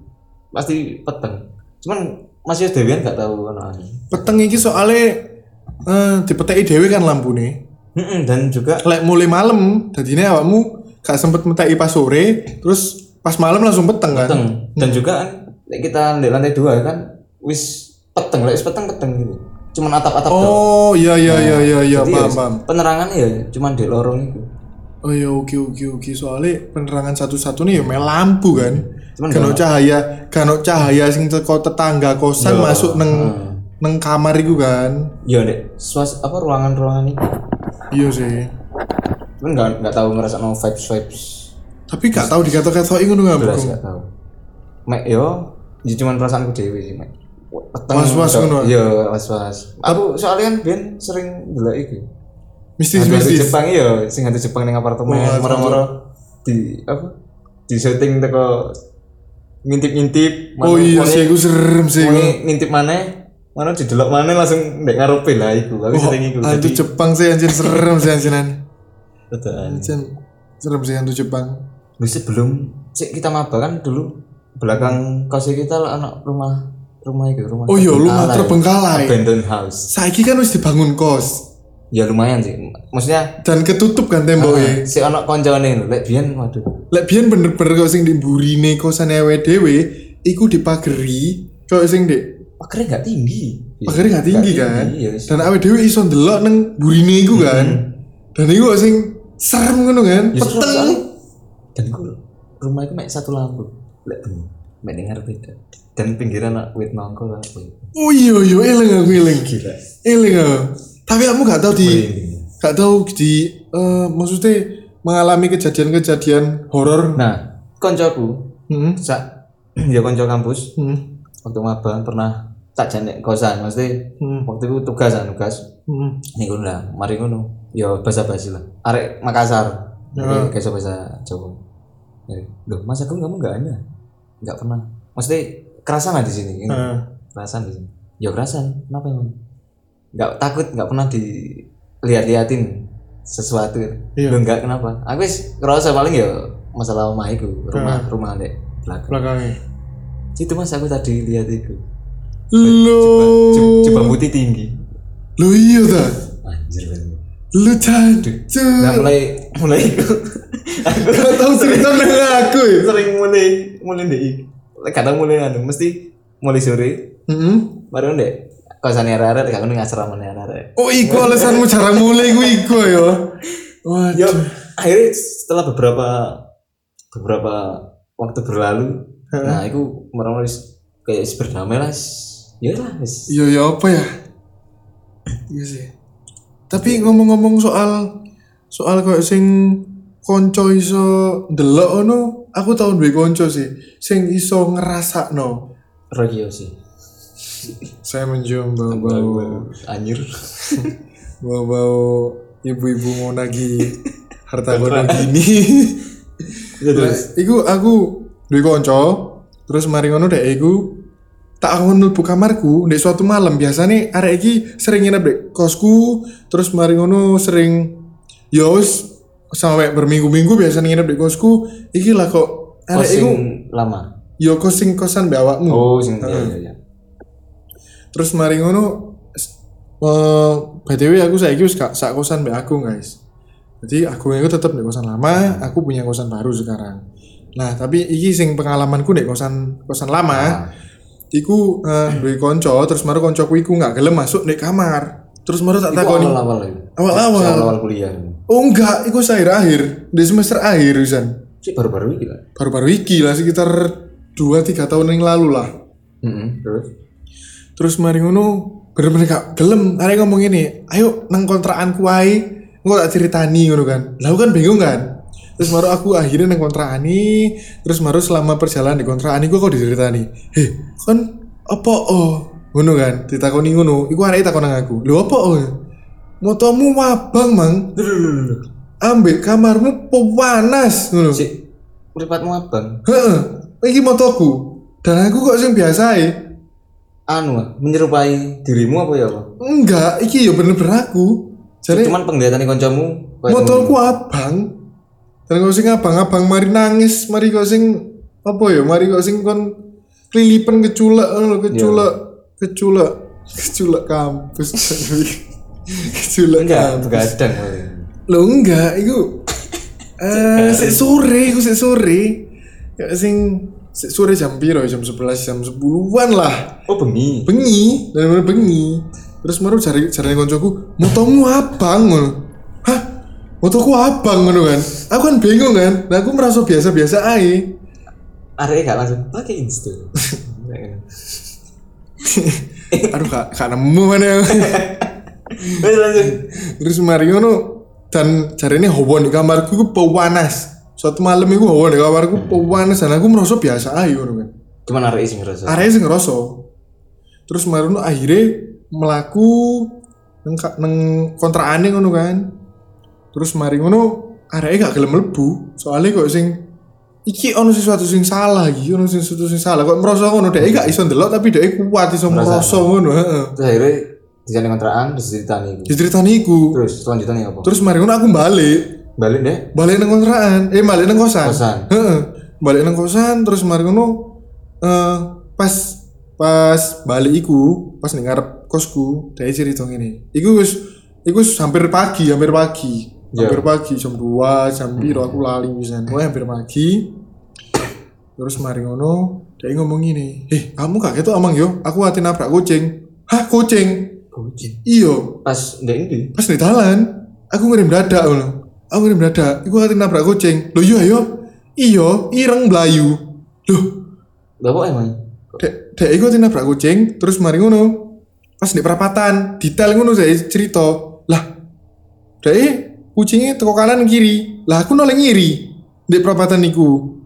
S3: pasti peteng. Cuman masih dewean gak tahu ana.
S1: Peteng iki soalnya eh dipeteki dhewe kan lampu nih.
S3: Heeh, dan juga
S1: Lek mulai malam, jadinya awakmu gak sempet meteki pas sore, terus pas malam langsung peteng kan.
S3: peteng. Dan
S1: Hmm.
S3: juga kan lek kita di lantai dua kan wis peteng, lek wis peteng peteng gitu. Cuman atap-atap doang.
S1: Oh iya iya iya iya iya
S3: Nah, Jadi
S1: paham
S3: ya,
S1: paham.
S3: Penerangannya ya cuman di lorong itu.
S1: Oh iya oke oke oke soalnya penerangan satu-satu nih ya meh lampu kan.
S3: Cuman
S1: Kano cahaya, kano cahaya sing teko tetangga kosan masuk neng neng kamar iku kan.
S3: Ya Dek, suas apa ruangan-ruangan itu.
S1: Iya sih.
S3: Cuman enggak enggak tahu ngerasa no vibes vibes.
S1: Tapi gak tahu dikata-katain ngono gak
S3: Jelas ya.
S1: Bung?
S3: enggak tahu. Mek yo, ya cuman perasaanku dewe sih, Mek. Peteng,
S1: Was-was
S3: dok.
S1: ngono.
S3: Iya, was-was. Aku soalnya kan biyen sering delok iku. Hantu
S1: Mistis-mistis.
S3: Jepang iya, sing hantu Jepang ning apartemen
S1: Wah,
S3: moro-moro di apa? Di syuting teko ngintip-ngintip.
S1: Oh iya
S3: mana-
S1: sih, gue serem sih.
S3: Wongi ngintip mana mana didelok mana langsung ndek ngarepe lah iku aku sering iku
S1: Oh, hantu
S3: jadi
S1: Jepang sih anjir serem sih anjiran.
S3: dadakan.
S1: Anjir serem sih hantu Jepang.
S3: Lu sebelum sik kita maba kan dulu belakang kos kita lah anak rumah rumah itu rumah
S1: Oh iya, rumah
S3: terbengkalai.
S1: terbengkalai.
S3: abandoned house
S1: Saiki kan harus dibangun kos
S3: ya lumayan sih maksudnya
S1: dan ketutup kan temboknya.
S3: si anak koncone lho lek biyen waduh
S1: Lek biyen bener-bener kok sing dimburine kosan ewe dhewe iku dipageri kok sing di
S3: pagernya nggak tinggi
S1: pageri gak tinggi kan.
S3: iya,
S1: Dan awe dhewe iso ndelok nang burine iku kan. Dan iku kok sing serem ngono kan.
S3: Ya, serem
S1: Peteng.
S3: soalnya. dan iku rumah iku mek satu lampu lek bengi mek dengar beda dan pinggiran nak wit nongko lah boy.
S1: Oh iya iya eling aku eling. Eling aku. Tapi kamu gak tahu di
S3: Iya,
S1: gak tahu di eh, maksudnya mengalami kejadian-kejadian horor.
S3: nah koncoku
S1: Hmm.
S3: sak ya konco kampus
S1: Hmm.
S3: waktu maba pernah tak janek kosan mesti
S1: Hmm.
S3: waktu itu tugas kan tugas
S1: hmm.
S3: nih ngono lah mari ngono ya basa basi lah arek Makassar
S1: Ya.
S3: jadi kayak bahasa Jawa Jadi, loh mas aku kamu nggak ada nggak pernah mesti kerasan lah di sini ini
S1: Eh,
S3: kerasan di sini ya kerasan kenapa emang nggak takut nggak pernah dilihat-liatin sesuatu
S1: Iya.
S3: Loh, nggak kenapa aku wis ngerasa paling ya masalah omahku rumah rumah dek belakang
S1: belakangnya.
S3: itu mas aku tadi lihat itu
S1: Lo.
S3: Jubah putih tinggi.
S1: Lo iya ta.
S3: Anjir bener.
S1: Lo cantik.
S3: Nah mulai mulai aku
S1: Gak tahu cerita dengan aku ya.
S3: sering mulai mulai deh. Kadang mulai anu mesti mulai sore
S1: Hmm.
S3: baru deh. Kosan arek-arek gak ngono asrama arek-arek.
S1: Oh iku alasanmu jarang mulai gue iku ya.
S3: Ya
S1: Waduh.
S3: akhirnya setelah beberapa beberapa waktu berlalu,
S1: Heeh.
S3: nah aku merasa wis kayak wis berdamai lah. wis. Ya lah wis.
S1: Iya ya apa ya? Iya sih. Tapi ngomong-ngomong soal soal kok sing konco iso ndelok ono, aku tau duwe konco sih sing iso ngerasakno.
S3: Rogio sih.
S1: Saya menjual bau-bau
S3: Anjir.
S1: bau-bau ibu-ibu mau nagi harta gono gini. Nah, iku aku duwe konco, terus mari ngono dek iku tak aku mlebu kamarku di suatu malam biasanya arek iki sering nginep dek kosku terus mari ngono sering ya yos sampai berminggu-minggu biasanya nginep dek kosku iki lah kok arek iku
S3: Kosing oh, lama.
S1: yo kosing kosan mbak awakmu
S3: Oh, sing iya
S1: Heeh.
S3: iya, iya.
S1: terus mari ngono s- eh btw aku saiki wis gak sak kosan mbak aku guys jadi aku itu tetap di kosan lama aku punya kosan baru sekarang nah tapi iki sing pengalamanku di kosan kosan lama iku eh, duwe konco terus mari koncoku iku gak gelem masuk di kamar terus mari tak
S3: Iku
S1: takoni
S3: awal-awal lagi.
S1: Awal-awal.
S3: Awal-awal kuliah.
S1: oh enggak iku akhir akhir di semester akhir Wisan
S3: Si baru-baru ini lah.
S1: baru-baru iki lah sekitar 2-3 tahun yang lalu lah
S3: Terus
S1: Terus mari ngono bener-bener gak gelem arek ngomong ini ayo nang kontrakanku ae engko tak ceritani ngono kan lalu kan bingung kan terus maru aku akhirnya nang kontraani terus maru selama perjalanan di kontraani gua kok diceritani heh kan apa oh ngono kan ditakoni ngono iku arek takon nang aku lho apa oh motomu wabang mang ambek kamarmu pepanas ngono
S3: si meripatmu abang.
S1: heeh iki motoku dan aku kok sing biasa
S3: Anu, ah, menyerupai dirimu apa ya, Pak?
S1: Enggak, iki yo bener-bener aku. Jadi
S3: Cuman penglihatan kancamu kayak
S1: motorku abang. Dan kau sing abang-abang mari nangis, mari kau sing apa ya, mari kau sing kon kelilipan keculek, ngono lho, keculek, keculek, keculek kampus. keculek
S3: enggak
S1: kampus.
S3: begadang.
S1: Lo enggak, iku eh sik sore, iku sik sore. Kayak sing sik sore jam piro, jam 11, jam 10-an lah.
S3: Oh, bengi.
S1: bengi dan bener bengi terus baru cari cari koncoku motomu abang ngono hah motoku abang ngono kan aku kan bingung kan nah aku merasa biasa biasa aja
S3: Arek gak langsung pakai Insta.
S1: aduh kak kak nemu mana aku.
S3: Wes langsung.
S1: terus mari ngono dan cari ini hawa di kamarku ku pewanas suatu malam itu hawa di kamarku pewanas dan aku merasa biasa aja ngono kan
S3: Cuman arek sing ngerasa.
S1: Arya sing ngerasa. Terus Marun akhirnya melaku neng, ka- neng kontraane ngono kan. Terus mari ngono areke gak gelem mlebu, soalnya kok sing iki ono sesuatu sing salah iki ono sesuatu sing salah kok merasa ngono dhek gak iso ndelok tapi dhek kuat iso
S3: Merasa.
S1: merasa ngono heeh
S3: terus akhirnya dijalin kontrakan terus ditani gitu.
S1: diceritani iku
S3: terus selanjutnya apa
S1: terus mari ngono aku balik
S3: balik deh
S1: balik nang kontrakan eh balik nang kosan
S3: kosan
S1: heeh balik nang kosan terus mari ngono eh, pas pas balik iku pas ning ngarep kosku dhek cerita ngene iku wis iku wis hampir pagi hampir pagi
S3: Ya.
S1: hampir pagi jam 2 jam piro aku lali pisan Pokoknya hampir pagi terus mari ngono dia ngomong gini eh kamu kaget tuh amang yo aku hati nabrak kucing hah kucing "Iya." iyo
S3: Oh, pas deh ini
S1: pas di dalan aku ngirim dadak ngono aku ngirim dadak aku hati nabrak kucing lo yo ayo iyo Iya, ireng blayu loh
S3: bapak emang
S1: dek dek iku hati nabrak kucing terus mari ngono pas di perapatan detail ngono saya cerita lah dek kucingnya teko kanan kiri lah aku noleng ngiri di perapatan niku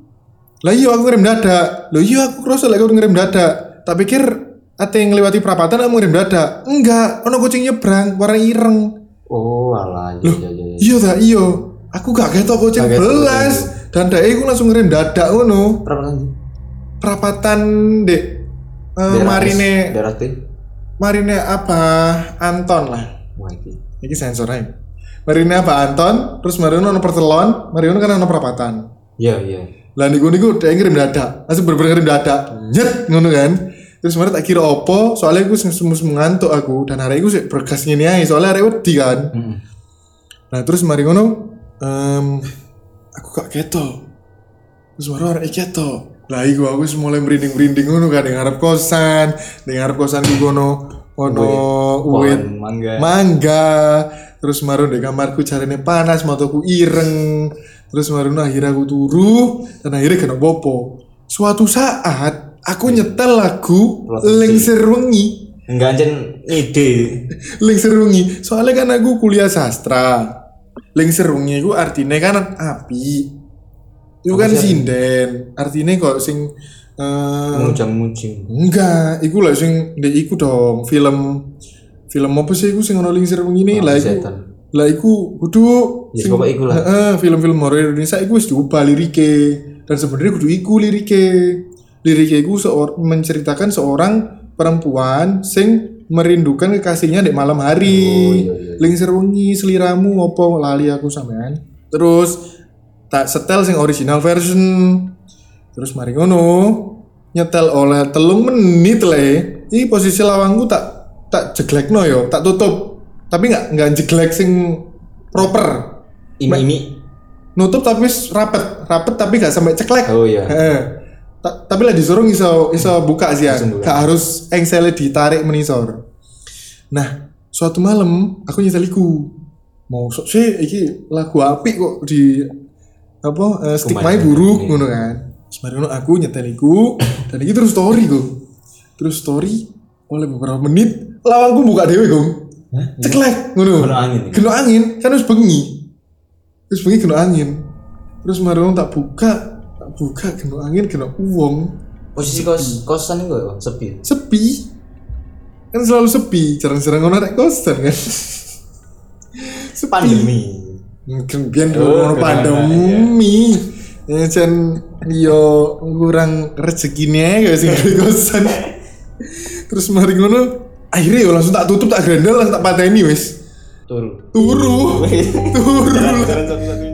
S1: lah iya aku ngirim dadak lo iya aku kerasa lagi aku ngirim dadak tak pikir ate ngelewati perapatan aku ngirim dadak enggak ono kucing nyebrang warna ireng
S3: oh alah iya iya iya
S1: iya tak iya aku gak ketok kucing
S3: Gak ketok
S1: belas dan dek aku langsung ngirim dadak ngono
S3: berapa lagi
S1: Eh, perapatan dek eh, marine
S3: daerah T
S1: marine apa Anton lah
S3: wah itu
S1: ini sensornya marine apa Anton terus marine ono pertelon marine kan ono perapatan
S3: iya iya
S1: lah niku niku dek ngirim dadak langsung bener-bener ngirim dadak nyet ngono kan terus marine tak kira opo soalnya aku semus ngantuk aku dan hari itu sik bergas ngene ae soalnya hari wedi kan
S3: Mm-mm.
S1: Nah terus mari ngono, em, aku gak keto. Terus mari orang keto. Lah iku aku wis mulai merinding-merinding ngono kan ning ngarep kosan, ning ngarep kosan iku ngono ono uwit
S3: pohon mangga
S1: mangga. Terus mari di kamarku jarene panas, mataku ireng. Terus mari ngono, akhirnya aku turu dan akhirnya kena bopo. Suatu saat aku nyetel lagu
S3: Proteksi.
S1: Lengser Wengi
S3: enggak anjen ide
S1: Link serungi. Soalnya kan aku kuliah sastra. Link serungi itu artinya kan api. Itu
S3: Apa
S1: kan
S3: sih
S1: sinden. Artinya kok sing eh
S3: mujang mujing
S1: enggak, iku lah sing ndek iku dong film film apa sih iku sing ono link serungi ini lah iku.
S3: setan
S1: Lah iku kudu
S3: Ya,
S1: sing-
S3: pokoknya iku lah.
S1: Heeh, film-film horor Indonesia iku wis diubah lirike. Dan sebenarnya kudu iku lirike. Lirike iku seor- menceritakan seorang perempuan sing merindukan kekasihnya di malam hari.
S3: Oh, iya, iya, iya.
S1: Ling serungi seliramu opo lali aku sampean. Terus tak setel sing original version. Terus mari ngono nyetel oleh telung menit le. Ini posisi lawangku tak tak jeglek no yo, tak tutup. Tapi nggak nggak jeglek sing proper.
S3: ini ini
S1: Nutup tapi wis rapet, rapet tapi nggak sampai ceklek.
S3: oh iya
S1: Heeh. Ta- tapi lah disuruh iso iso buka sih ya.
S3: Langsung buka.
S1: Gak harus engsele ditarik menisor. Nah, suatu malam aku nyetel iku. Mau sok sih iki lagu apik kok di apa eh, stigma
S3: Kumayan.
S1: buruk
S3: Iya.
S1: ngono kan. Semarang aku nyetel iku dan iki terus story kok. Terus story oleh beberapa menit lawangku buka dewe gong. Ceklek ngono.
S3: kena angin ini.
S1: Kena angin kan harus bengi. Terus bengi kena angin. Terus marung tak buka, tak buka kena angin kena uang
S3: posisi kos kosan itu kok sepi
S1: sepi. Kan selalu sepi, jarang-jarang ngono rek kosan kan. sepi.
S3: pandemi
S1: Mungkin biyen
S3: Oh,
S1: ngono
S3: corona,
S1: pandemi. Ya jan yo kurang rezekine ya sing di kosan. Terus mari ngono akhirnya yo langsung tak tutup tak grendel langsung tak pateni wis.
S3: turun
S1: Turu. Turu.
S3: Jalan-jalan satu-satu.